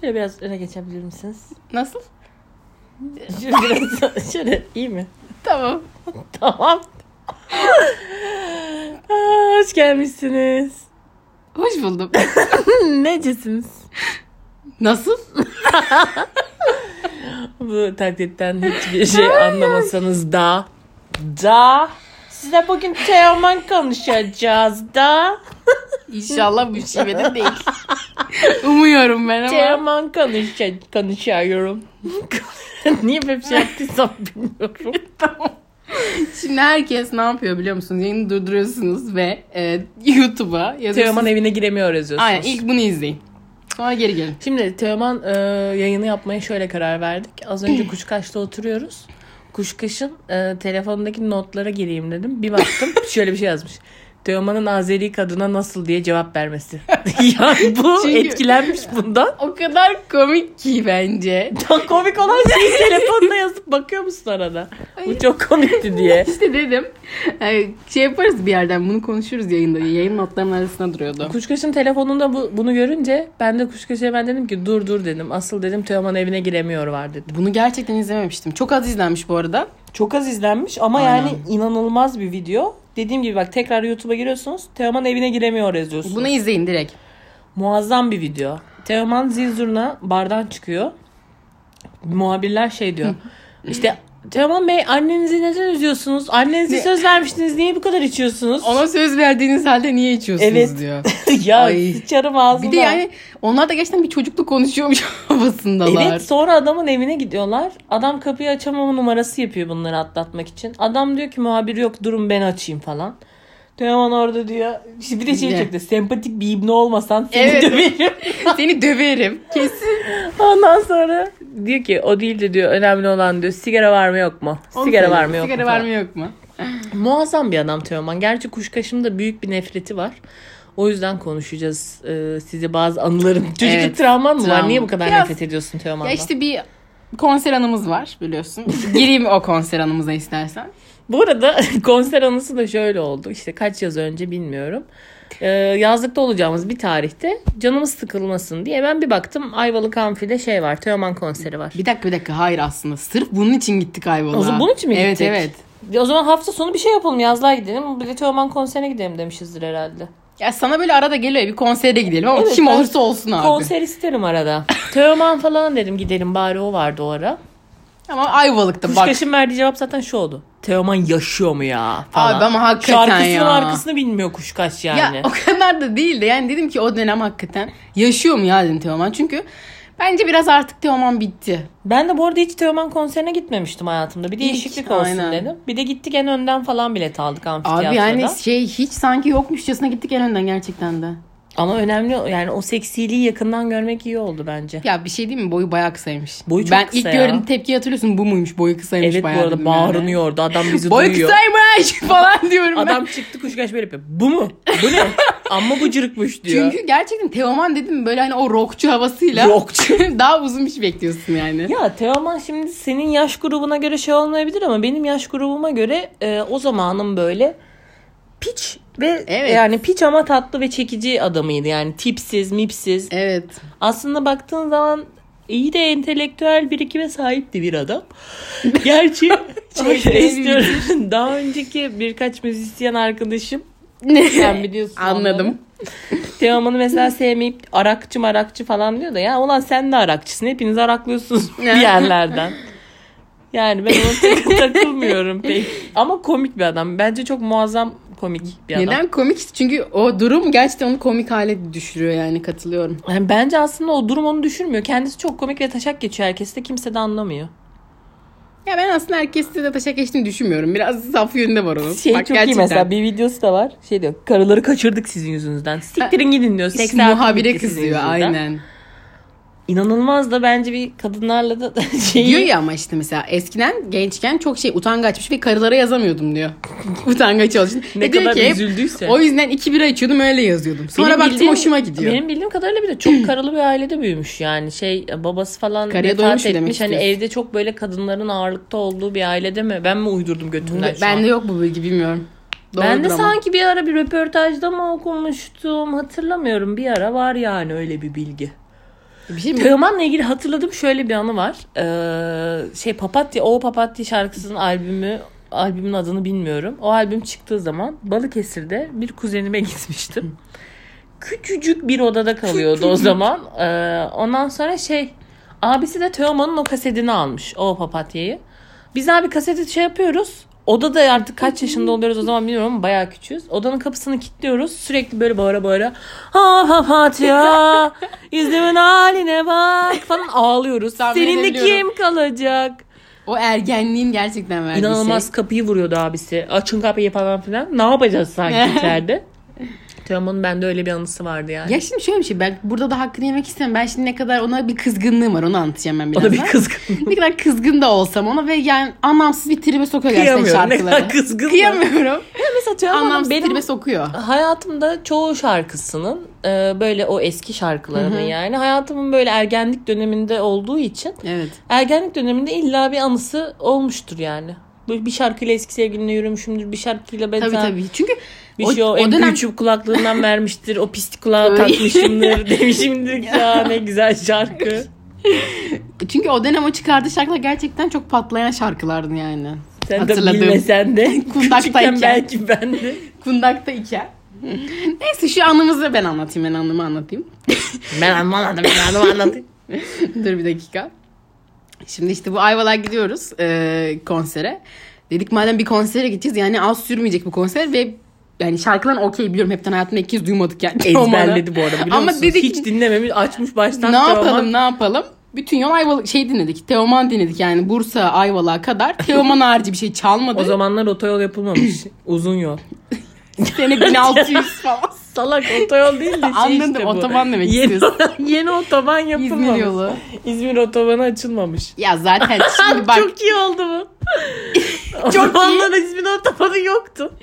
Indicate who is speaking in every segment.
Speaker 1: Şöyle biraz öne geçebilir misiniz?
Speaker 2: Nasıl?
Speaker 1: Şöyle, biraz- şöyle iyi mi?
Speaker 2: Tamam.
Speaker 1: Tamam. Aa, hoş gelmişsiniz. Hmm,
Speaker 2: Hoş buldum.
Speaker 1: Necesiniz?
Speaker 2: Nasıl?
Speaker 1: Bu taklitten hiçbir şey anlamasanız da. Da. Size bugün Teoman konuşacağız da.
Speaker 2: İnşallah musibete değil. Umuyorum ben ama.
Speaker 1: Teoman konuşa- konuşuyorum. Niye böyle bir şey yaptıysam bilmiyorum.
Speaker 2: Şimdi herkes ne yapıyor biliyor musunuz? Yayını durduruyorsunuz ve e, YouTube'a
Speaker 1: Teoman
Speaker 2: yazıyorsunuz.
Speaker 1: evine giremiyor yazıyorsunuz.
Speaker 2: Aynen ilk bunu izleyin. Sonra geri gelin.
Speaker 1: Şimdi Teoman e, yayını yapmaya şöyle karar verdik. Az önce Kuşkaş'ta oturuyoruz. Kuşkaş'ın e, telefonundaki notlara gireyim dedim. Bir baktım şöyle bir şey yazmış. Teoman'ın Azeri kadına nasıl diye cevap vermesi. yani bu
Speaker 2: Çünkü-
Speaker 1: etkilenmiş bundan.
Speaker 2: O kadar komik ki bence.
Speaker 1: Daha komik olan şey telefonla yazıp bakıyor musun arada? Bu çok komikti diye.
Speaker 2: İşte dedim e, şey yaparız bir yerden bunu konuşuruz yayında. Yayın notlarının arasında duruyordu.
Speaker 1: Kuşkaş'ın telefonunda bu, bunu görünce ben de Kuşkaş'a ben dedim ki dur dur dedim. Asıl dedim Teoman evine giremiyor var dedim.
Speaker 2: Bunu gerçekten izlememiştim. Çok az izlenmiş bu arada.
Speaker 1: Çok az izlenmiş ama
Speaker 2: Aynen.
Speaker 1: yani inanılmaz bir video. Dediğim gibi bak tekrar YouTube'a giriyorsunuz. Teoman evine giremiyor yazıyorsunuz.
Speaker 2: Bunu izleyin direkt.
Speaker 1: Muazzam bir video. Teoman zil zurna bardan çıkıyor. Muhabirler şey diyor. işte Teoman Bey annenizi neden üzüyorsunuz? Annenize
Speaker 2: Ne-
Speaker 1: söz vermiştiniz. Niye bu kadar içiyorsunuz?
Speaker 2: Ona söz verdiğiniz halde niye içiyorsunuz
Speaker 1: Evet.
Speaker 2: diyor.
Speaker 1: ya
Speaker 2: Ay.
Speaker 1: sıçarım ağzına.
Speaker 2: Bir de yani onlar da gerçekten bir çocukluk konuşuyormuş havasındalar.
Speaker 1: Evet sonra adamın evine gidiyorlar. Adam kapıyı açamama numarası yapıyor bunları atlatmak için. Adam diyor ki muhabir yok durun ben açayım falan. Teoman orada diyor. işte Bir de şey
Speaker 2: Ne?
Speaker 1: çekti. Sempatik bir ibne olmasan seni
Speaker 2: Evet.
Speaker 1: döverim.
Speaker 2: Seni döverim. Kesin.
Speaker 1: Ondan sonra diyor ki o değil de diyor önemli olan diyor sigara var mı yok mu? Sigara var mı yok
Speaker 2: Sigara
Speaker 1: mu?
Speaker 2: var
Speaker 1: falan.
Speaker 2: mı yok mu?
Speaker 1: Muazzam bir adam Teoman. Gerçi kuşkaşımda büyük bir nefreti var. O yüzden konuşacağız ee, size bazı anılarım. Çocukluk
Speaker 2: Evet,
Speaker 1: travman mı var?
Speaker 2: travma.
Speaker 1: Niye bu kadar
Speaker 2: Biraz-
Speaker 1: nefret ediyorsun Teoman'dan?
Speaker 2: Ya işte bir konser anımız var biliyorsun. Gireyim o konser anımıza istersen.
Speaker 1: Bu arada konser anısı da şöyle oldu. İşte kaç yaz önce bilmiyorum. Ee, yazlıkta olacağımız bir tarihte canımız sıkılmasın diye ben bir baktım Ayvalık Amfi'de şey var. Teoman konseri var.
Speaker 2: Bir dakika bir dakika hayır aslında sırf bunun için gittik Ayvalık'a.
Speaker 1: O zaman bunun için mi gittik?
Speaker 2: Evet evet.
Speaker 1: O zaman hafta sonu bir şey yapalım yazlığa gidelim. Bir de Teoman konserine gidelim demişizdir herhalde.
Speaker 2: Ya sana böyle arada geliyor bir konsere gidelim ama
Speaker 1: Evet,
Speaker 2: kim
Speaker 1: ben-
Speaker 2: olursa olsun abi.
Speaker 1: Konser isterim arada. Teoman falan dedim gidelim bari o vardı o ara.
Speaker 2: Ama Ayvalık'ta bak.
Speaker 1: Kuşkaş'ın verdiği cevap zaten şu oldu. Teoman yaşıyor mu ya falan.
Speaker 2: Abi ama hakikaten
Speaker 1: Şarkısının
Speaker 2: ya.
Speaker 1: arkasını bilmiyor Kuşkaş yani.
Speaker 2: Ya o kadar da değil de yani dedim ki o dönem hakikaten yaşıyor mu ya dedim Teoman. Çünkü bence biraz artık Teoman bitti.
Speaker 1: Ben de bu arada hiç Teoman konserine gitmemiştim hayatımda. Bir değişiklik olsun
Speaker 2: aynen.
Speaker 1: dedim. Bir de gittik en önden falan bilet aldık amfiteyatroda.
Speaker 2: Abi yani şey hiç sanki yokmuşçasına gittik en önden gerçekten de.
Speaker 1: Ama önemli o- yani o seksiliği yakından görmek iyi oldu bence.
Speaker 2: Ya bir şey değil mi boyu bayağı kısaymış.
Speaker 1: Boyu çok
Speaker 2: ben
Speaker 1: kısa
Speaker 2: ilk
Speaker 1: ya.
Speaker 2: gördüğüm tepki hatırlıyorsun bu muymuş boyu kısaymış
Speaker 1: evet bu
Speaker 2: bayağı.
Speaker 1: arada
Speaker 2: dedim yani.
Speaker 1: bağırınıyordu. Adam bizi
Speaker 2: Boyu
Speaker 1: duyuyor.
Speaker 2: kısaymış falan diyorum ben.
Speaker 1: Adam çıktı kuşkaş böyle yapıyor. Bu mu? Bu ne? Amma bu cırıkmış diyor.
Speaker 2: Çünkü gerçekten Teoman dedim böyle hani o rockçu havasıyla
Speaker 1: Rockçu.
Speaker 2: daha uzun bir şey bekliyorsun yani.
Speaker 1: Ya Teoman şimdi senin yaş grubuna göre şey olmayabilir ama benim yaş grubuma göre e, o zamanın böyle piç ve
Speaker 2: Evet.
Speaker 1: yani piç ama tatlı ve çekici adamıydı. Yani tipsiz, mipsiz.
Speaker 2: Evet.
Speaker 1: Aslında baktığın zaman iyi de entelektüel birikime sahipti bir adam. Gerçi
Speaker 2: Çok
Speaker 1: şey istiyorum. Daha önceki birkaç müzisyen arkadaşım sen biliyorsun.
Speaker 2: Anladım.
Speaker 1: onları. Teoman'ı mesela sevmeyip arakçı marakçı falan diyor da ya ulan sen de arakçısın. Hepiniz araklıyorsunuz bir yerlerden. Yani ben ona tak- takılmıyorum pek. Ama komik bir adam. Bence çok muazzam komik bir adam.
Speaker 2: Neden komik? Çünkü o durum gerçekten onu komik hale düşürüyor yani katılıyorum.
Speaker 1: Yani bence aslında o durum onu düşürmüyor. Kendisi çok komik ve taşak geçiyor herkes de kimse de anlamıyor.
Speaker 2: Ya ben aslında herkeste de taşa geçtiğini düşünmüyorum. Biraz saf yönünde var onun.
Speaker 1: Şey
Speaker 2: Bak
Speaker 1: çok iyi
Speaker 2: gerçekten.
Speaker 1: mesela bir videosu da var. Şey diyor karıları kaçırdık sizin yüzünüzden. Siktirin gidin diyor.
Speaker 2: İşte
Speaker 1: Seks
Speaker 2: muhabire
Speaker 1: artık bitti sizin
Speaker 2: kızıyor
Speaker 1: yüzünüzden.
Speaker 2: aynen.
Speaker 1: İnanılmaz da bence bir kadınlarla da şey.
Speaker 2: Diyor ya ama işte mesela eskiden gençken çok şey utangaçmış ve karılara yazamıyordum diyor. Utangaç olsun.
Speaker 1: Ne
Speaker 2: E diyor
Speaker 1: kadar
Speaker 2: ki hep-
Speaker 1: üzüldüyse.
Speaker 2: O yüzden iki bira içiyordum öyle yazıyordum. Sonra
Speaker 1: Benim
Speaker 2: baktım
Speaker 1: bildiğim-
Speaker 2: hoşuma gidiyor.
Speaker 1: Benim bildiğim kadarıyla bir de çok karılı bir ailede büyümüş yani. Şey babası falan
Speaker 2: Karıya doymuş
Speaker 1: vefat
Speaker 2: demek
Speaker 1: etmiş. Hani
Speaker 2: istiyorsun.
Speaker 1: evde çok böyle kadınların ağırlıkta olduğu bir ailede mi? Ben mi uydurdum götümden şu an?
Speaker 2: Bende yok bu bilgi bilmiyorum.
Speaker 1: ben de
Speaker 2: Doğrudur ama.
Speaker 1: sanki bir ara bir röportajda mı okumuştum hatırlamıyorum. Bir ara var yani öyle bir bilgi.
Speaker 2: Bir şey mi?
Speaker 1: Teoman'la ilgili hatırladığım şöyle bir anı var. Ee, şey Papatya, O Papatya şarkısının albümü albümün adını bilmiyorum. O albüm çıktığı zaman Balıkesir'de bir kuzenime gitmiştim. Küçücük bir odada kalıyordu o zaman. Ee, ondan sonra şey abisi de Teoman'ın o kasetini almış. O Papatya'yı. Biz abi kaseti şey yapıyoruz. Odada artık kaç yaşında oluyoruz o zaman bilmiyorum ama bayağı küçüğüz. Odanın kapısını kilitliyoruz. Sürekli böyle bağıra bağıra ha papatya yüzümün haline bak falan ağlıyoruz.
Speaker 2: Tahmin
Speaker 1: Seninle
Speaker 2: edebiliyorum.
Speaker 1: kim kalacak?
Speaker 2: O ergenliğin gerçekten verdiği
Speaker 1: İnanılmaz
Speaker 2: şey.
Speaker 1: kapıyı vuruyordu abisi. Açın kapıyı falan filan. Ne yapacağız sanki içeride? Teoman'ın bende öyle bir anısı vardı yani.
Speaker 2: Ya şimdi şöyle bir şey. Ben burada da hakkını yemek istemem. Ben şimdi ne kadar ona bir kızgınlığım var. Onu anlatacağım ben
Speaker 1: o
Speaker 2: birazdan.
Speaker 1: da bir kızgın.
Speaker 2: Ne kadar kızgın da olsam ona ve yani anlamsız bir tribe sokuyor gerçekten
Speaker 1: Kıyamıyorum. Ne
Speaker 2: şarkıları.
Speaker 1: kadar kızgın. mı?
Speaker 2: Kıyamıyorum.
Speaker 1: Mesela Teoman'ın
Speaker 2: anlamsız
Speaker 1: benim
Speaker 2: tribe sokuyor.
Speaker 1: hayatımda çoğu şarkısının e, böyle o eski şarkılarının yani hayatımın böyle ergenlik döneminde olduğu için
Speaker 2: Evet.
Speaker 1: ergenlik döneminde illa bir anısı olmuştur yani. Böyle bir şarkıyla eski sevgilimle yürümüşümdür. Bir şarkıyla ben
Speaker 2: Tabii
Speaker 1: sana
Speaker 2: tabii. Çünkü
Speaker 1: bir şey o, MP3 kulaklığından vermiştir. O pislik kulağı
Speaker 2: Öyle.
Speaker 1: takmışımdır. demişimdir ki ya ne güzel şarkı.
Speaker 2: Çünkü o dönem o çıkardığı şarkılar gerçekten çok patlayan şarkılardı yani.
Speaker 1: Sen de
Speaker 2: Hatırladım.
Speaker 1: bilmesen de. Küçükken
Speaker 2: Kundaktayken.
Speaker 1: belki ben de.
Speaker 2: Kundakta iki. Neyse şu anımızı ben anlatayım. Ben anımı anlatayım.
Speaker 1: Ben anlamadım. Ben anlamadım.
Speaker 2: Dur bir dakika. Şimdi işte bu Ayvalar gidiyoruz e, konsere. Dedik madem bir konsere gideceğiz yani az sürmeyecek bu konser ve yani şarkıların okey biliyorum hepten hayatımda ilk kez duymadık yani.
Speaker 1: Ezberledi bu arada biliyor
Speaker 2: Ama
Speaker 1: musunuz?
Speaker 2: dedik-
Speaker 1: Hiç dinlememiş. Açmış baştan.
Speaker 2: ne
Speaker 1: Teoman.
Speaker 2: yapalım ne yapalım? Bütün yol Ayvalı şey dinledik. Teoman dinledik yani Bursa Ayvalık'a kadar. Teoman harici bir şey çalmadı.
Speaker 1: O zamanlar otoyol yapılmamış. Uzun yol.
Speaker 2: Sene 1600 falan.
Speaker 1: Salak otoyol değil de şey
Speaker 2: Anladım,
Speaker 1: işte bu.
Speaker 2: otoban demek
Speaker 1: yeni,
Speaker 2: istiyorsun.
Speaker 1: yeni otoban yapılmamış.
Speaker 2: İzmir yolu.
Speaker 1: İzmir otobanı açılmamış.
Speaker 2: Ya zaten şimdi bak
Speaker 1: Çok iyi oldu bu. o
Speaker 2: Çok iyi.
Speaker 1: zamanlar İzmir otobanı yoktu.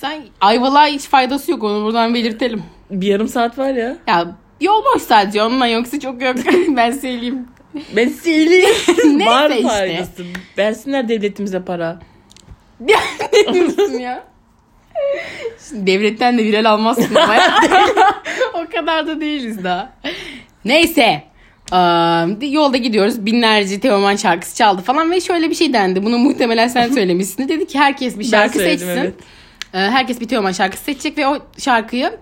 Speaker 2: sen Ayvalık'a hiç faydası yok onu buradan belirtelim.
Speaker 1: Bir yarım saat var ya.
Speaker 2: Ya yol boş sadece onunla yoksa çok yok. ben söyleyeyim.
Speaker 1: Ben sileyim.
Speaker 2: Neyse
Speaker 1: var
Speaker 2: işte.
Speaker 1: faydası. Versinler devletimize para.
Speaker 2: Ya ne diyorsun ya? Şimdi devletten de viral almazsın ama ya. o kadar da değiliz daha. Neyse. Am, yolda gidiyoruz. Binlerce Teoman şarkısı çaldı falan ve şöyle bir şey dendi. Bunu muhtemelen sen söylemişsin. Dedi ki herkes bir
Speaker 1: Ben
Speaker 2: şarkı
Speaker 1: söyledim,
Speaker 2: seçsin.
Speaker 1: evet.
Speaker 2: Ee, herkes bir Teoman şarkısı seçecek ve o şarkıyı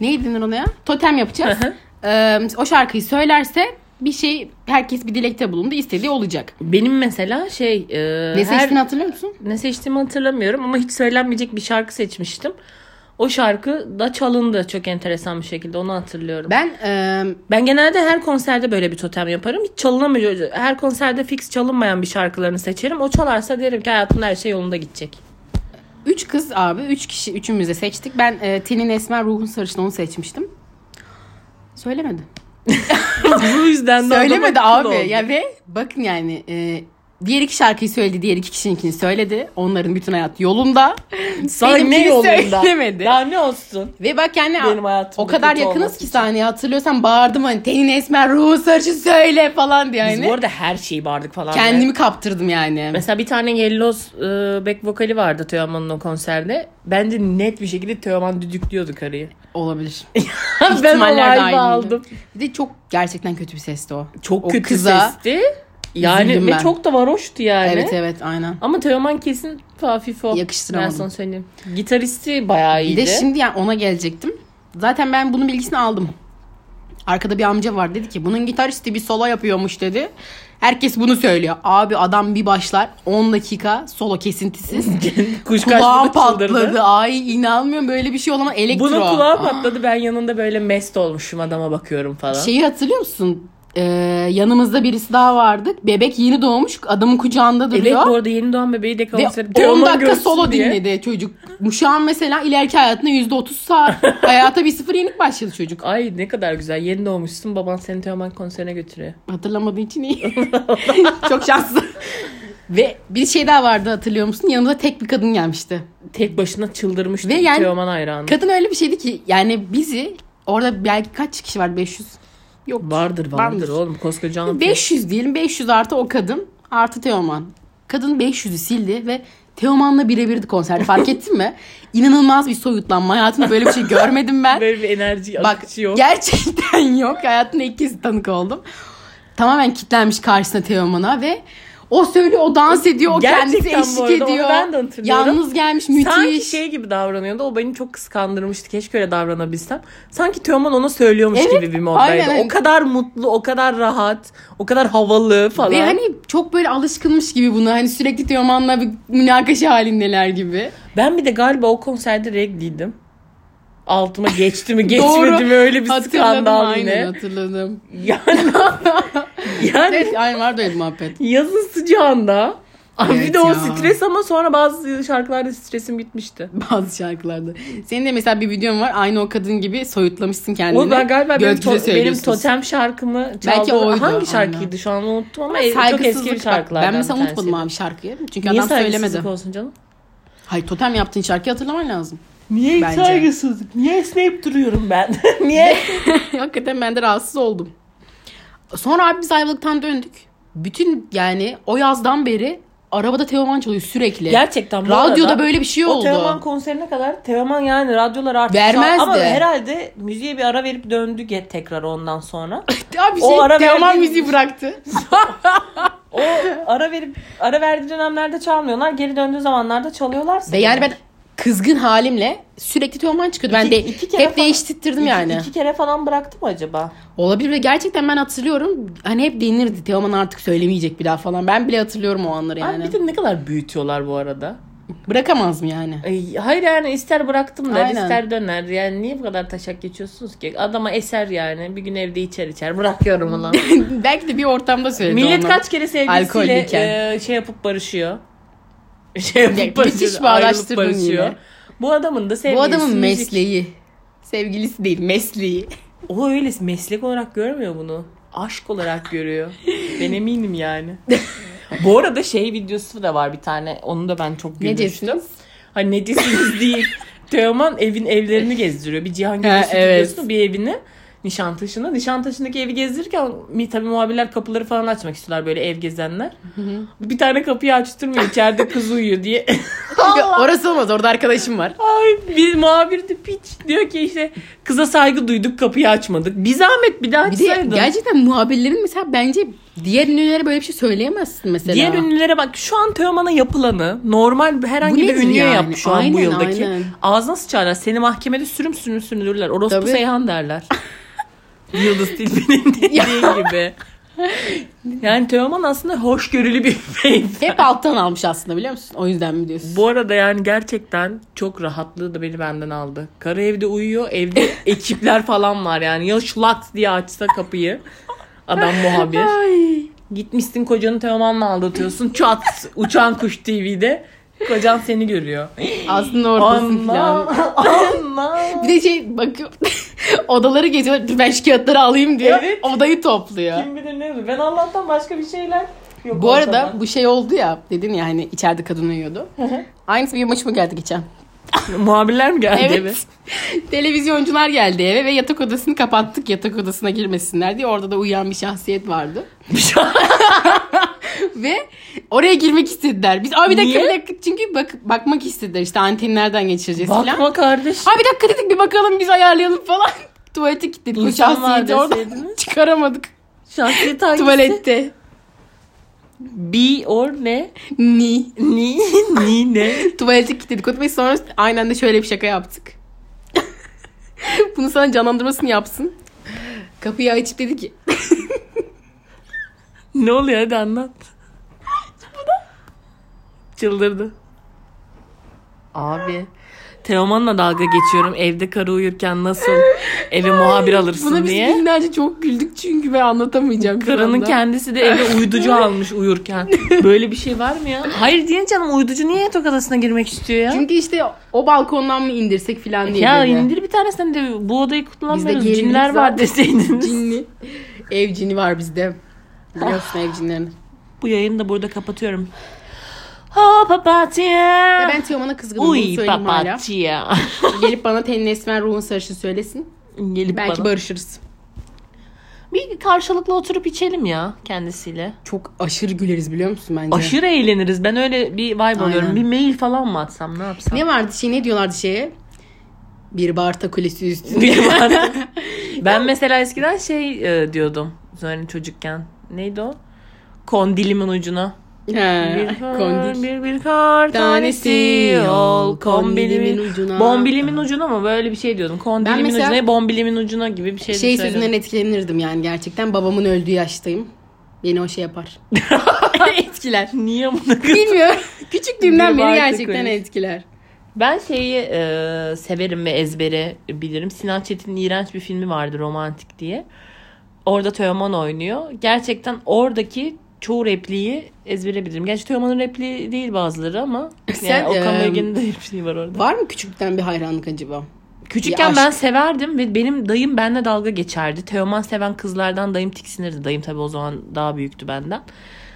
Speaker 2: neydi denir ona ya? Totem yapacağız.
Speaker 1: Hı hı.
Speaker 2: Ee, o şarkıyı söylerse bir şey herkes bir dilekte bulundu. istediği olacak.
Speaker 1: Benim mesela şey. e, her-
Speaker 2: Ne seçtiğini hatırlıyor musun?
Speaker 1: Ne seçtiğimi hatırlamıyorum ama hiç söylenmeyecek bir şarkı seçmiştim. O şarkı da çalındı çok enteresan bir şekilde onu hatırlıyorum.
Speaker 2: Ben em,
Speaker 1: Ben genelde her konserde böyle bir totem yaparım. Hiç çalınamıyor. Her konserde fix çalınmayan bir şarkılarını seçerim. O çalarsa derim ki hayatımda her şey yolunda gidecek.
Speaker 2: Üç kız abi, üç kişi, üçümüz de seçtik. Ben e, tenin esmer, ruhun sarışın onu seçmiştim. Söylemedi.
Speaker 1: Bu yüzden de
Speaker 2: Söylemedi
Speaker 1: adama kıl
Speaker 2: abi.
Speaker 1: oldu.
Speaker 2: Ya ve bakın yani e, diğer iki şarkıyı söyledi, diğer iki kişininkini söyledi. Onların bütün hayat yolunda.
Speaker 1: Sana ne
Speaker 2: benimkini
Speaker 1: yolunda?
Speaker 2: söylemedi.
Speaker 1: Daha ne olsun?
Speaker 2: Ve bak yani
Speaker 1: Benim hayatımda
Speaker 2: o kadar
Speaker 1: kötü
Speaker 2: yakınız
Speaker 1: olması
Speaker 2: ki sahneye hatırlıyorsan bağırdım hani tenin esmer, ruhun sarışın söyle falan diye.
Speaker 1: Biz
Speaker 2: Yani.
Speaker 1: bu arada her şeyi bağırdık falan.
Speaker 2: Hani? Kendimi kaptırdım yani.
Speaker 1: Mesela bir tane Yellows e, back vokali vardı Teoman'ın o konserde. Bence net bir şekilde Teoman düdüklüyordu karıyı.
Speaker 2: Olabilir.
Speaker 1: ben o
Speaker 2: İhtimaller
Speaker 1: vibe'ı
Speaker 2: dahilinde.
Speaker 1: aldım.
Speaker 2: Bir de çok gerçekten kötü bir sesti o.
Speaker 1: Çok
Speaker 2: O
Speaker 1: kötü
Speaker 2: kıza-
Speaker 1: sesti. Yani
Speaker 2: Üzüldüm
Speaker 1: ve
Speaker 2: ben.
Speaker 1: çok da varoştu yani.
Speaker 2: Evet evet aynen.
Speaker 1: Ama Teoman kesin hafif o.
Speaker 2: Yakıştıramadım.
Speaker 1: Ben sana söyleyeyim. Gitaristi bayağı
Speaker 2: Bir
Speaker 1: iyiydi.
Speaker 2: de şimdi yani ona gelecektim. Zaten ben bunun bilgisini aldım. Arkada bir amca var dedi ki bunun gitaristi bir solo yapıyormuş dedi. Herkes bunu söylüyor. Abi adam bir başlar 10 dakika solo kesintisiz.
Speaker 1: Kuş
Speaker 2: Kulağım
Speaker 1: kaçmadı
Speaker 2: patladı.
Speaker 1: çıldırdı.
Speaker 2: Ay inanmıyorum böyle bir şey olamaz. Elektro.
Speaker 1: Bunun kulağı
Speaker 2: Aa.
Speaker 1: patladı. Ben yanında böyle mest olmuşum adama bakıyorum falan.
Speaker 2: Şeyi hatırlıyor musun? Ee, yanımızda birisi daha vardı. Bebek yeni doğmuş. Adamın kucağında
Speaker 1: Evet
Speaker 2: duruyor.
Speaker 1: bu arada yeni doğan bebeği de
Speaker 2: Ve
Speaker 1: konserde.
Speaker 2: 10
Speaker 1: Teoman
Speaker 2: dakika
Speaker 1: görsün
Speaker 2: solo
Speaker 1: diye.
Speaker 2: dinledi çocuk. Şu an mesela ileriki hayatında %30 sağ. Hayata bir sıfır yenik başladı çocuk.
Speaker 1: Ay ne kadar güzel. Yeni doğmuşsun. Baban seni Teoman konserine götürüyor.
Speaker 2: Hatırlamadığı için iyi. Çok şanslı. Ve bir şey daha vardı hatırlıyor musun? Yanımıza tek bir kadın gelmişti.
Speaker 1: Tek başına çıldırmıştı
Speaker 2: Ve yani-
Speaker 1: Teoman hayranı.
Speaker 2: Kadın öyle bir şeydi ki yani bizi orada belki kaç kişi var 500. Yok.
Speaker 1: Vardır vardır
Speaker 2: Vardır.
Speaker 1: oğlum koskoca anlatıyor.
Speaker 2: 500 diyelim 500 artı o kadın artı Teoman. Kadın 500'ü sildi ve Teoman'la birebirdi konserde fark ettin mi? İnanılmaz bir soyutlanma. Hayatımda böyle bir şey görmedim ben.
Speaker 1: Böyle bir enerji
Speaker 2: Bak
Speaker 1: akışı yok.
Speaker 2: gerçekten yok. Hayatımda ilk kez tanık oldum. Tamamen kitlenmiş karşısına Teoman'a ve o söylüyor, o dans ediyor, o kendisi
Speaker 1: Gerçekten bu
Speaker 2: eşlik
Speaker 1: arada, onu
Speaker 2: ediyor.
Speaker 1: ben de hatırlıyorum.
Speaker 2: Yalnız gelmiş, müthiş.
Speaker 1: Sanki şey gibi davranıyordu. O beni çok kıskandırmıştı. Keşke öyle davranabilsem. Sanki Teoman ona söylüyormuş
Speaker 2: Evet,
Speaker 1: gibi bir moddaydı.
Speaker 2: aynen, aynen.
Speaker 1: O kadar mutlu, o kadar rahat, o kadar havalı falan.
Speaker 2: Ve hani çok böyle alışkınmış gibi buna. Hani sürekli Teoman'la bir münakaşa halindeler gibi.
Speaker 1: Ben bir de galiba o konserde regliydim. Altıma geçti mi geçmedi
Speaker 2: Doğru.
Speaker 1: mi öyle bir
Speaker 2: Hatırladım
Speaker 1: skandal
Speaker 2: aynen
Speaker 1: yine.
Speaker 2: hatırladım.
Speaker 1: Yani, yani
Speaker 2: Evet,
Speaker 1: Hani-
Speaker 2: aynen vardı öyle bir muhabbet.
Speaker 1: yazın sıcağında. Ay bir
Speaker 2: Evet
Speaker 1: de o
Speaker 2: ya.
Speaker 1: stres ama sonra bazı şarkılarda stresim bitmişti.
Speaker 2: Bazı şarkılarda. Senin de mesela bir videon var. Aynı o kadın gibi soyutlamışsın kendini.
Speaker 1: O ben galiba benim,
Speaker 2: Gökyüzü
Speaker 1: to- benim
Speaker 2: söylüyorsun.
Speaker 1: totem şarkımı çaldı.
Speaker 2: Hani Belki oydu,
Speaker 1: Hangi şarkıydı
Speaker 2: aynen.
Speaker 1: şu an unuttum ama, e, çok
Speaker 2: Saygısızlık.
Speaker 1: eski bir
Speaker 2: bak,
Speaker 1: şarkılardan
Speaker 2: Ben mesela
Speaker 1: bir
Speaker 2: unutmadım
Speaker 1: tanesiydi.
Speaker 2: abi şarkıyı. Çünkü
Speaker 1: Niye
Speaker 2: adam söylemedi.
Speaker 1: saygısızlık olsun canım?
Speaker 2: Hayır totem yaptığın şarkıyı hatırlaman lazım.
Speaker 1: Niye
Speaker 2: Bence.
Speaker 1: saygısızlık? Niye Snape duruyorum ben? Niye?
Speaker 2: Hakikaten ben de rahatsız oldum. Sonra abi biz ayrılıktan döndük. Bütün yani o yazdan beri arabada Teoman çalıyor sürekli.
Speaker 1: Gerçekten bu
Speaker 2: Radyoda
Speaker 1: arada-
Speaker 2: böyle bir şey
Speaker 1: O Teoman
Speaker 2: oldu.
Speaker 1: konserine kadar Teoman yani radyolar artık
Speaker 2: Vermezdi.
Speaker 1: ama herhalde müziğe bir ara verip döndü ge- tekrar ondan sonra.
Speaker 2: Abi
Speaker 1: O
Speaker 2: şey,
Speaker 1: ara
Speaker 2: Teoman
Speaker 1: verdiğim-
Speaker 2: müziği bıraktı.
Speaker 1: O ara verip ara verdiği dönemlerde çalmıyorlar. Geri döndüğü zamanlarda çalıyorlar.
Speaker 2: Ve yani ben kızgın halimle sürekli Teoman çıkıyordu. Ben
Speaker 1: İki-
Speaker 2: de
Speaker 1: iki kere
Speaker 2: hep
Speaker 1: falan-
Speaker 2: değiştirttirdim
Speaker 1: İki-
Speaker 2: yani.
Speaker 1: İki kere falan bıraktı mı acaba?
Speaker 2: Olabilir ve gerçekten ben hatırlıyorum. Hani hep denirdi Teoman artık söylemeyecek bir daha falan. Ben bile hatırlıyorum o anları yani.
Speaker 1: Ay bir de ne kadar büyütüyorlar bu arada.
Speaker 2: Bırakamaz mı yani?
Speaker 1: Ay, hayır yani ister bıraktım der
Speaker 2: Aynen.
Speaker 1: ister döner. Yani niye bu kadar taşak geçiyorsunuz ki? Adama eser yani. Bir gün evde içer içer. Bırakıyorum ulan.
Speaker 2: Belki de bir ortamda söyledi
Speaker 1: Millet
Speaker 2: ona.
Speaker 1: kaç kere sevgilisiyle
Speaker 2: Alkollüyken.
Speaker 1: e, şey yapıp barışıyor. Şey yapıp
Speaker 2: Ya,
Speaker 1: barışıyor.
Speaker 2: müthiş bir
Speaker 1: ayrılıp
Speaker 2: araştırdın yine.
Speaker 1: Bu adamın da sevgilisi.
Speaker 2: Bu adamın
Speaker 1: müzik-
Speaker 2: mesleği. Sevgilisi değil mesleği.
Speaker 1: O öyle meslek olarak görmüyor bunu. Aşk olarak görüyor. ben eminim yani. Bu arada şey videosu da var bir tane. Onu da ben çok
Speaker 2: Ne
Speaker 1: gülmüştüm. Hani ne diyorsunuz değil. Teoman evin evlerini gezdiriyor. Bir Cihan Gül'ün
Speaker 2: Ha, evet.
Speaker 1: stüdyosunu bir evini. Nişantaşı'nda. Nişantaşı'ndaki evi gezdirirken mi tabii muhabirler kapıları falan açmak istiyorlar böyle ev gezenler. Bir tane kapıyı açtırmıyor içeride kız uyuyor diye.
Speaker 2: Orası olmaz orada arkadaşım var.
Speaker 1: Ay bir muhabir de piç diyor ki işte kıza saygı duyduk kapıyı açmadık. Bir zahmet bir daha
Speaker 2: Bir de
Speaker 1: açsaydın.
Speaker 2: gerçekten muhabirlerin mesela bence diğer ünlülere böyle bir şey söyleyemezsin mesela.
Speaker 1: Diğer ünlülere bak şu an Teoman'a yapılanı normal herhangi
Speaker 2: Bu
Speaker 1: bir
Speaker 2: nedir
Speaker 1: ünlüye
Speaker 2: yani?
Speaker 1: yapmış şu an bu
Speaker 2: Aynen,
Speaker 1: yıldaki.
Speaker 2: aynen.
Speaker 1: Ağzına sıçarlar. Seni mahkemede sürüm sürüm süründürürler. Orospu
Speaker 2: Tabii.
Speaker 1: Seyhan derler. Yıldız Tilbe'nin dediği gibi. Yani Teoman aslında hoşgörülü bir beyefendi.
Speaker 2: Hep alttan almış aslında biliyor musun? O yüzden mi diyorsun?
Speaker 1: Bu arada yani gerçekten çok rahatlığı da beni benden aldı. Karı evde uyuyor. Evde ekipler falan var yani. Ya şlak diye açsa kapıyı. Adam muhabir.
Speaker 2: Ay.
Speaker 1: Gitmişsin kocanı Teoman'la aldatıyorsun. Çat uçan kuş TV'de. Kocan seni görüyor.
Speaker 2: Aslında ortasın falan.
Speaker 1: Allah Allah.
Speaker 2: Bir de şey bakıyor. odaları geziyor. Dur ben şu kağıtları alayım diye.
Speaker 1: Evet.
Speaker 2: Odayı topluyor.
Speaker 1: Kim bilir ne olur. Ben Allah'tan başka bir şeyler yok.
Speaker 2: Bu arada
Speaker 1: ortada.
Speaker 2: bu şey oldu ya dedin ya hani içeride kadın uyuyordu. Aynısı bir maçıma geldi geçen.
Speaker 1: muhabirler mi geldi eve?
Speaker 2: Evet. Televizyoncular geldi eve ve yatak odasını kapattık yatak odasına girmesinler diye. Orada da uyuyan bir şahsiyet vardı.
Speaker 1: Bir şey-
Speaker 2: Ve oraya girmek istediler. Biz abi bir dakika
Speaker 1: Niye?
Speaker 2: bir dakika çünkü bak, bakmak istediler işte antenlerden geçireceğiz falan.
Speaker 1: Bakma kardeş.
Speaker 2: Abi bir dakika dedik bir bakalım biz ayarlayalım falan. Tuvalete kilitledik. Bu
Speaker 1: İnsan var
Speaker 2: şahsiyeti oradan
Speaker 1: deseydiniz.
Speaker 2: çıkaramadık.
Speaker 1: Şahsiyet hangisi?
Speaker 2: Tuvalette.
Speaker 1: Bi or ne?
Speaker 2: Ni.
Speaker 1: Ni, ni ne?
Speaker 2: Tuvalete kilitledik. Ve sonra aynen de şöyle bir şaka yaptık. Bunu sana canlandırmasını yapsın. Kapıyı açıp dedi ki
Speaker 1: Ne oluyor hadi anlat. Çıldırdı. Abi. Teoman'la dalga geçiyorum. Evde karı uyurken nasıl eve muhabir alırsın
Speaker 2: Buna biz
Speaker 1: diye.
Speaker 2: günlerce çok güldük çünkü ben anlatamayacağım. şu
Speaker 1: Karının
Speaker 2: anda.
Speaker 1: kendisi de eve uyducu almış uyurken. Böyle bir şey var mı ya? Hayır diye canım uyducu niye yatak odasına girmek istiyor ya?
Speaker 2: Çünkü işte o balkondan mı indirsek falan diye.
Speaker 1: ya
Speaker 2: dedi.
Speaker 1: indir bir tanesini de bu odayı kullanmıyoruz.
Speaker 2: Bizde gelinlik
Speaker 1: Cinler var
Speaker 2: zaten.
Speaker 1: deseydiniz.
Speaker 2: Cinli. Ev cini var bizde. Biliyorsun ev cinlerini.
Speaker 1: Bu yayını da burada kapatıyorum. Ho papatya.
Speaker 2: Ya ben Teoman'a kızgınım. Uy,
Speaker 1: Uy
Speaker 2: söyleyeyim hala.
Speaker 1: papatya.
Speaker 2: Gelip bana tenin esmer ruhun sarışın söylesin.
Speaker 1: Gelip
Speaker 2: Belki
Speaker 1: bana.
Speaker 2: barışırız.
Speaker 1: Bir karşılıklı oturup içelim ya kendisiyle.
Speaker 2: Çok aşırı güleriz biliyor musun bence?
Speaker 1: Aşırı eğleniriz. Ben öyle bir vibe alıyorum. Bir mail falan mı atsam ne yapsam?
Speaker 2: Ne vardı şey ne diyorlardı şeye? Bir Barta Kulesi üstünde.
Speaker 1: Bir var. ben mesela eskiden şey e, diyordum. Yani çocukken. Neydi o? Kondilimin ucuna. Bir kar,
Speaker 2: Kondir.
Speaker 1: bir, bir kar Ee, tanesi ol kombilimin ucuna.
Speaker 2: ucuna.
Speaker 1: Bombilimin ucuna mı? Böyle bir şey diyordum. Kondilimin
Speaker 2: Ben mesela-
Speaker 1: ucuna, bombilimin ucuna gibi bir şey,
Speaker 2: Şey
Speaker 1: söyledim.
Speaker 2: sözünden etkilenirdim yani gerçekten. Babamın öldüğü yaştayım. Beni o şey yapar. etkiler.
Speaker 1: Niye bunu
Speaker 2: Bilmiyorum. Küçüklüğümden
Speaker 1: Bir
Speaker 2: beri
Speaker 1: Barta
Speaker 2: gerçekten
Speaker 1: Kulesi.
Speaker 2: etkiler.
Speaker 1: Ben şeyi e, severim ve ezbere bilirim. Sinan Çetin'in iğrenç bir filmi vardı romantik diye. Orada Teoman oynuyor. Gerçekten oradaki çoğu repliği ezbere bilirim. Gerçi Teoman'ın repliği değil bazıları ama
Speaker 2: Sen,
Speaker 1: yani Okan
Speaker 2: e,
Speaker 1: Bölge'nin de bir şey var orada.
Speaker 2: Var mı küçüklükten bir hayranlık acaba?
Speaker 1: Küçükken
Speaker 2: Bir
Speaker 1: ben severdim ve benim dayım benimle dalga geçerdi. Teoman seven kızlardan dayım tiksinirdi. Dayım tabii o zaman daha büyüktü benden.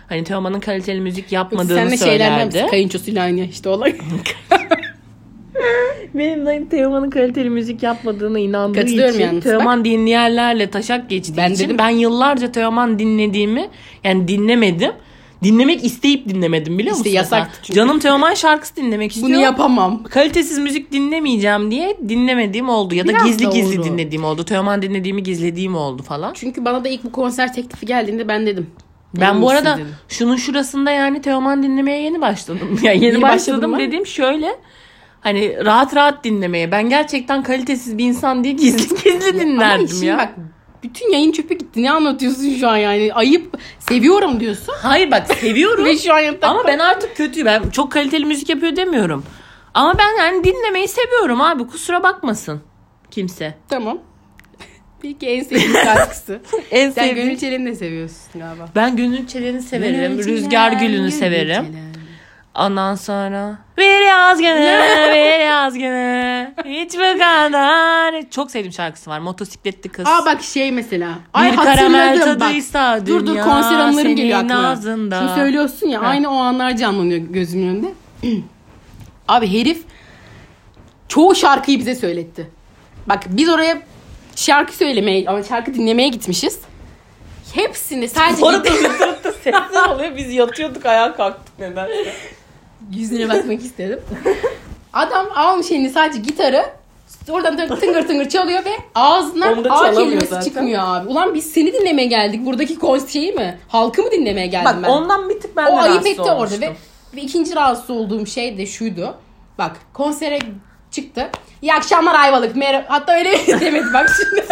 Speaker 1: Hani Teoman'ın kaliteli müzik yapmadığını
Speaker 2: Sen de şeylerden
Speaker 1: söylerdi.
Speaker 2: misin? Kayınçosuyla aynı yaşta olan.
Speaker 1: Benim dayım Teoman'ın kaliteli müzik yapmadığına inandığı
Speaker 2: Katılıyorum
Speaker 1: için
Speaker 2: yalnız,
Speaker 1: Teoman dinleyenlerle taşak geçtiği
Speaker 2: Ben
Speaker 1: için
Speaker 2: dedim-
Speaker 1: ben yıllarca Teoman dinlediğimi yani dinlemedim. Dinlemek isteyip dinlemedim biliyor
Speaker 2: İşte
Speaker 1: musun?
Speaker 2: yasaktı
Speaker 1: Ha,
Speaker 2: çünkü.
Speaker 1: Canım Teoman şarkısı dinlemek istiyor.
Speaker 2: Bunu yapamam.
Speaker 1: Kalitesiz müzik dinlemeyeceğim diye dinlemediğim oldu ya da
Speaker 2: Biraz
Speaker 1: gizli
Speaker 2: da
Speaker 1: gizli
Speaker 2: oldu.
Speaker 1: dinlediğim oldu. Teoman dinlediğimi gizlediğim oldu falan.
Speaker 2: Çünkü bana da ilk bu konser teklifi geldiğinde ben dedim.
Speaker 1: Ben bu
Speaker 2: Siz
Speaker 1: arada
Speaker 2: dedim.
Speaker 1: şunun şurasında yani Teoman dinlemeye yeni başladım. Yani yeni
Speaker 2: Yeni başladın
Speaker 1: başladım
Speaker 2: mı?
Speaker 1: dediğim şöyle. Hani rahat rahat dinlemeye. Ben gerçekten kalitesiz bir insan diye gizli gizli
Speaker 2: Ama
Speaker 1: dinlerdim
Speaker 2: şimdi
Speaker 1: ya.
Speaker 2: bak bütün yayın çöpe gitti. Ne anlatıyorsun şu an yani? Ayıp. Seviyorum diyorsun.
Speaker 1: Hayır bak seviyorum.
Speaker 2: Ve şu an yatak
Speaker 1: ama ben artık kötü. Ben çok kaliteli müzik yapıyor demiyorum. Ama ben yani dinlemeyi seviyorum abi. Kusura bakmasın kimse.
Speaker 2: Tamam. Peki en sevdiğin şarkısı.
Speaker 1: En
Speaker 2: Sen Gönül
Speaker 1: sevdiğim.
Speaker 2: Çelen'i de seviyorsun galiba.
Speaker 1: Ben Gönül Çelen'i severim. Rüzgar Gülü'nü severim. Ondan sonra bir yaz günü, bir yaz günü. Hiç bu kadar. Çok sevdiğim şarkısı var. Motosikletli kız.
Speaker 2: Aa bak şey mesela.
Speaker 1: bir
Speaker 2: Ay
Speaker 1: karamel
Speaker 2: hatırladım bak.
Speaker 1: tadıysa
Speaker 2: Dur dur
Speaker 1: dünya
Speaker 2: konser anılarım
Speaker 1: senin
Speaker 2: geliyor aklıma.
Speaker 1: ağzında.
Speaker 2: Şimdi söylüyorsun ya
Speaker 1: Ha.
Speaker 2: aynı o anlar canlanıyor gözümün önünde. Abi herif çoğu şarkıyı bize söyletti. Bak biz oraya şarkı söylemeye ama şarkı dinlemeye gitmişiz. Hepsini sadece
Speaker 1: Orada tırt tırt sesler oluyor. Biz yatıyorduk ayağa kalktık neden?
Speaker 2: yüzüne bakmak istedim. Adam almış elini sadece gitarı oradan da tıngır tıngır çalıyor ve ağzından
Speaker 1: Onu da
Speaker 2: A
Speaker 1: çalamıyor
Speaker 2: kelimesi
Speaker 1: zaten.
Speaker 2: çıkmıyor abi. Ulan biz seni dinlemeye geldik. Buradaki konser şeyi mi? Halkı mı dinlemeye geldim
Speaker 1: Bak
Speaker 2: ben?
Speaker 1: ondan bir tık ben de
Speaker 2: o ayıp
Speaker 1: rahatsız
Speaker 2: etti orada
Speaker 1: olmuştum.
Speaker 2: ve, ve ikinci rahatsız olduğum şey de şuydu. Bak konsere çıktı. İyi akşamlar Ayvalık. Merhaba. Hatta öyle demedi bak şimdi.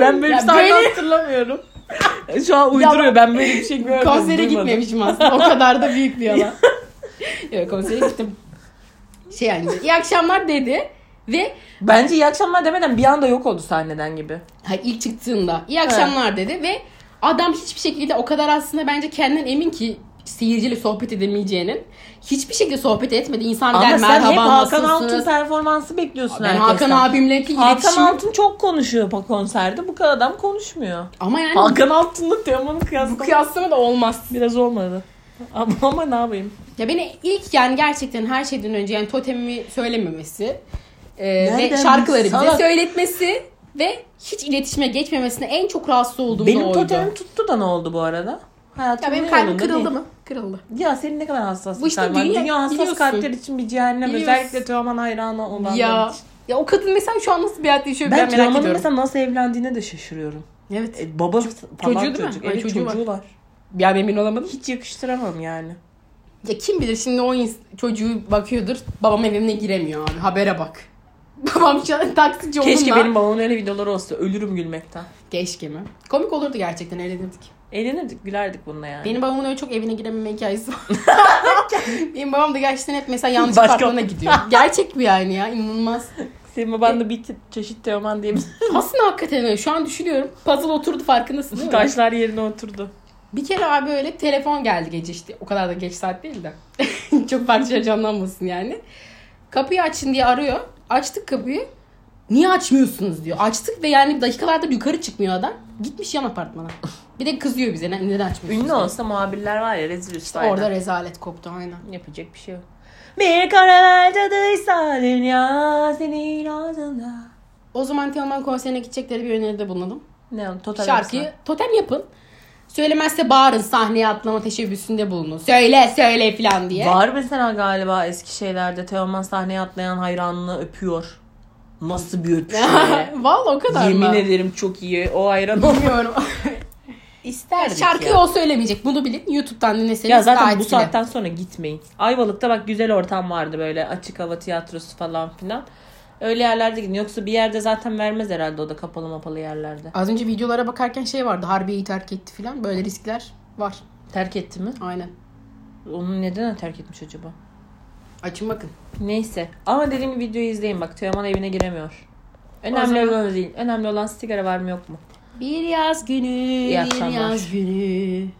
Speaker 1: Ben böyle bir
Speaker 2: Ya
Speaker 1: sahne
Speaker 2: böyle-
Speaker 1: hatırlamıyorum. Şu an uyduruyor. Ben böyle bir şey görmedim.
Speaker 2: konsere
Speaker 1: duymadım.
Speaker 2: gitmemişim aslında. O kadar da büyük bir yalan. Yok konsere gittim. Şey yani iyi akşamlar dedi ve
Speaker 1: Bence iyi akşamlar demeden bir anda yok oldu sahneden gibi.
Speaker 2: ha, ilk çıktığında iyi akşamlar dedi ve adam hiçbir şekilde o kadar aslında bence kendinden emin ki seyirciyle sohbet edemeyeceğinin. Hiçbir şekilde sohbet etmedi. İnsan
Speaker 1: Ama
Speaker 2: der
Speaker 1: sen
Speaker 2: merhaba
Speaker 1: hep Hakan
Speaker 2: nasılsınız?"
Speaker 1: Altun performansı bekliyorsun
Speaker 2: Ben
Speaker 1: herkesten.
Speaker 2: Hakan abimle ki
Speaker 1: Hakan
Speaker 2: iletişim.
Speaker 1: Altun çok konuşuyor pa- konserde. Bu kadar adam konuşmuyor.
Speaker 2: Ama yani
Speaker 1: Hakan Altun'la Teoman'ın
Speaker 2: bu
Speaker 1: kıyaslaması
Speaker 2: kıyaslama da olmaz.
Speaker 1: biraz olmadı. Ama, ama ne yapayım?
Speaker 2: Ya beni ilk yani gerçekten her şeyden önce yani totemimi söylememesi e, ve
Speaker 1: Nereden
Speaker 2: şarkıları bize
Speaker 1: salak?
Speaker 2: söyletmesi ve hiç iletişime geçmemesine en çok rahatsız olduğum da
Speaker 1: Benim
Speaker 2: oydu.
Speaker 1: totemim tuttu da ne oldu bu arada? Hayatım
Speaker 2: Ya benim
Speaker 1: ne
Speaker 2: kalbim
Speaker 1: yolunda
Speaker 2: kırıldı
Speaker 1: değil.
Speaker 2: mı? Kırıldı.
Speaker 1: Ya senin ne kadar hassas
Speaker 2: Bu
Speaker 1: bir
Speaker 2: işte
Speaker 1: kalbin var.
Speaker 2: dünya-
Speaker 1: dünya, hassas
Speaker 2: biliyorsun.
Speaker 1: kalpler için bir cehennem.
Speaker 2: Biliyorsun.
Speaker 1: Özellikle Teoman hayranı olan
Speaker 2: Ya ya o kadın mesela şu an nasıl bir hayat yaşıyor
Speaker 1: Ben,
Speaker 2: ben,
Speaker 1: ben
Speaker 2: merak
Speaker 1: Teoman'ın
Speaker 2: ediyorum.
Speaker 1: mesela nasıl evlendiğine de şaşırıyorum.
Speaker 2: Evet.
Speaker 1: E, baba falan
Speaker 2: çocuğu değil mi?
Speaker 1: çocuk.
Speaker 2: Ay,
Speaker 1: Evet,
Speaker 2: çocuğu
Speaker 1: çocuğu
Speaker 2: var.
Speaker 1: var.
Speaker 2: Yani emin olamadım.
Speaker 1: Hiç yakıştıramam yani.
Speaker 2: Ya kim bilir şimdi o ins- çocuğu bakıyordur. Babam evime giremiyor abi. Habere bak. Babam şu an taksici olduğunda.
Speaker 1: Keşke benim babamın öyle videoları olsa. Ölürüm gülmekten.
Speaker 2: Keşke mi? Komik olurdu gerçekten eğlenirdik.
Speaker 1: Eğlenirdik, gülerdik bununla yani.
Speaker 2: Benim babamın öyle çok evine girememe hikayesi var. Benim babam da gerçekten hep mesela yanlış
Speaker 1: Başka-
Speaker 2: apartmana gidiyor. Gerçek bu yani ya inanılmaz.
Speaker 1: Senin baban da bir çe- çeşit Teoman diye bir-
Speaker 2: Aslında hakikaten öyle. Şu an düşünüyorum. Puzzle oturdu farkındasın değil mi?
Speaker 1: taşlar yerine oturdu.
Speaker 2: Bir kere abi öyle telefon geldi gece işte. O kadar da geç saat değil de. çok farklı şey canlanmasın yani. Kapıyı açın diye arıyor. Açtık kapıyı. Niye açmıyorsunuz diyor. Açtık ve yani dakikalarda yukarı çıkmıyor adam. Gitmiş yan apartmana. Bir de kızıyor bize. "Ne- Neden açmıyorsunuz?
Speaker 1: Ünlü olsa muhabirler var ya rezil üstü aynen.
Speaker 2: Orada rezalet koptu aynen.
Speaker 1: yapacak bir şey yok. Bir karar tadıysa dünya senin ağzında.
Speaker 2: O zaman Teoman konserine gidecekleri bir öneride bulundum.
Speaker 1: Ne o? Totem
Speaker 2: Şarkıyı
Speaker 1: Arasına.
Speaker 2: totem yapın. Söylemezse bağırın sahneye atlama teşebbüsünde bulunun. Söyle söyle falan diye.
Speaker 1: Var mesela galiba eski şeylerde Teoman sahneye atlayan hayranını öpüyor. Nasıl bir öpüşme.
Speaker 2: Vallahi o kadar
Speaker 1: Yemin
Speaker 2: mı?
Speaker 1: ederim çok iyi. O hayran o.
Speaker 2: Bilmiyorum.
Speaker 1: İsterdik
Speaker 2: Şarkıyı
Speaker 1: ya.
Speaker 2: o söylemeyecek. Bunu bilin. YouTube'dan dinleseniz
Speaker 1: Ya zaten
Speaker 2: daha
Speaker 1: bu
Speaker 2: etkili.
Speaker 1: saatten sonra gitmeyin. Ayvalık'ta bak güzel ortam vardı böyle açık hava tiyatrosu falan filan. Öyle yerlerde gidin. Yoksa bir yerde zaten vermez herhalde o da kapalı mapalı yerlerde.
Speaker 2: Az önce videolara bakarken şey vardı. Harbiye'yi terk etti falan. Böyle riskler var.
Speaker 1: Terk etti mi?
Speaker 2: Aynen.
Speaker 1: Onu neden terk etmiş acaba?
Speaker 2: Açın bakın.
Speaker 1: Neyse. Ama dediğim gibi videoyu izleyin bak. Teoman evine giremiyor.
Speaker 2: O
Speaker 1: Önemli
Speaker 2: zaman-
Speaker 1: olan o değil. Önemli olan sigara var mı yok mu?
Speaker 2: Bir yaz günü,
Speaker 1: akşamlar.
Speaker 2: günü.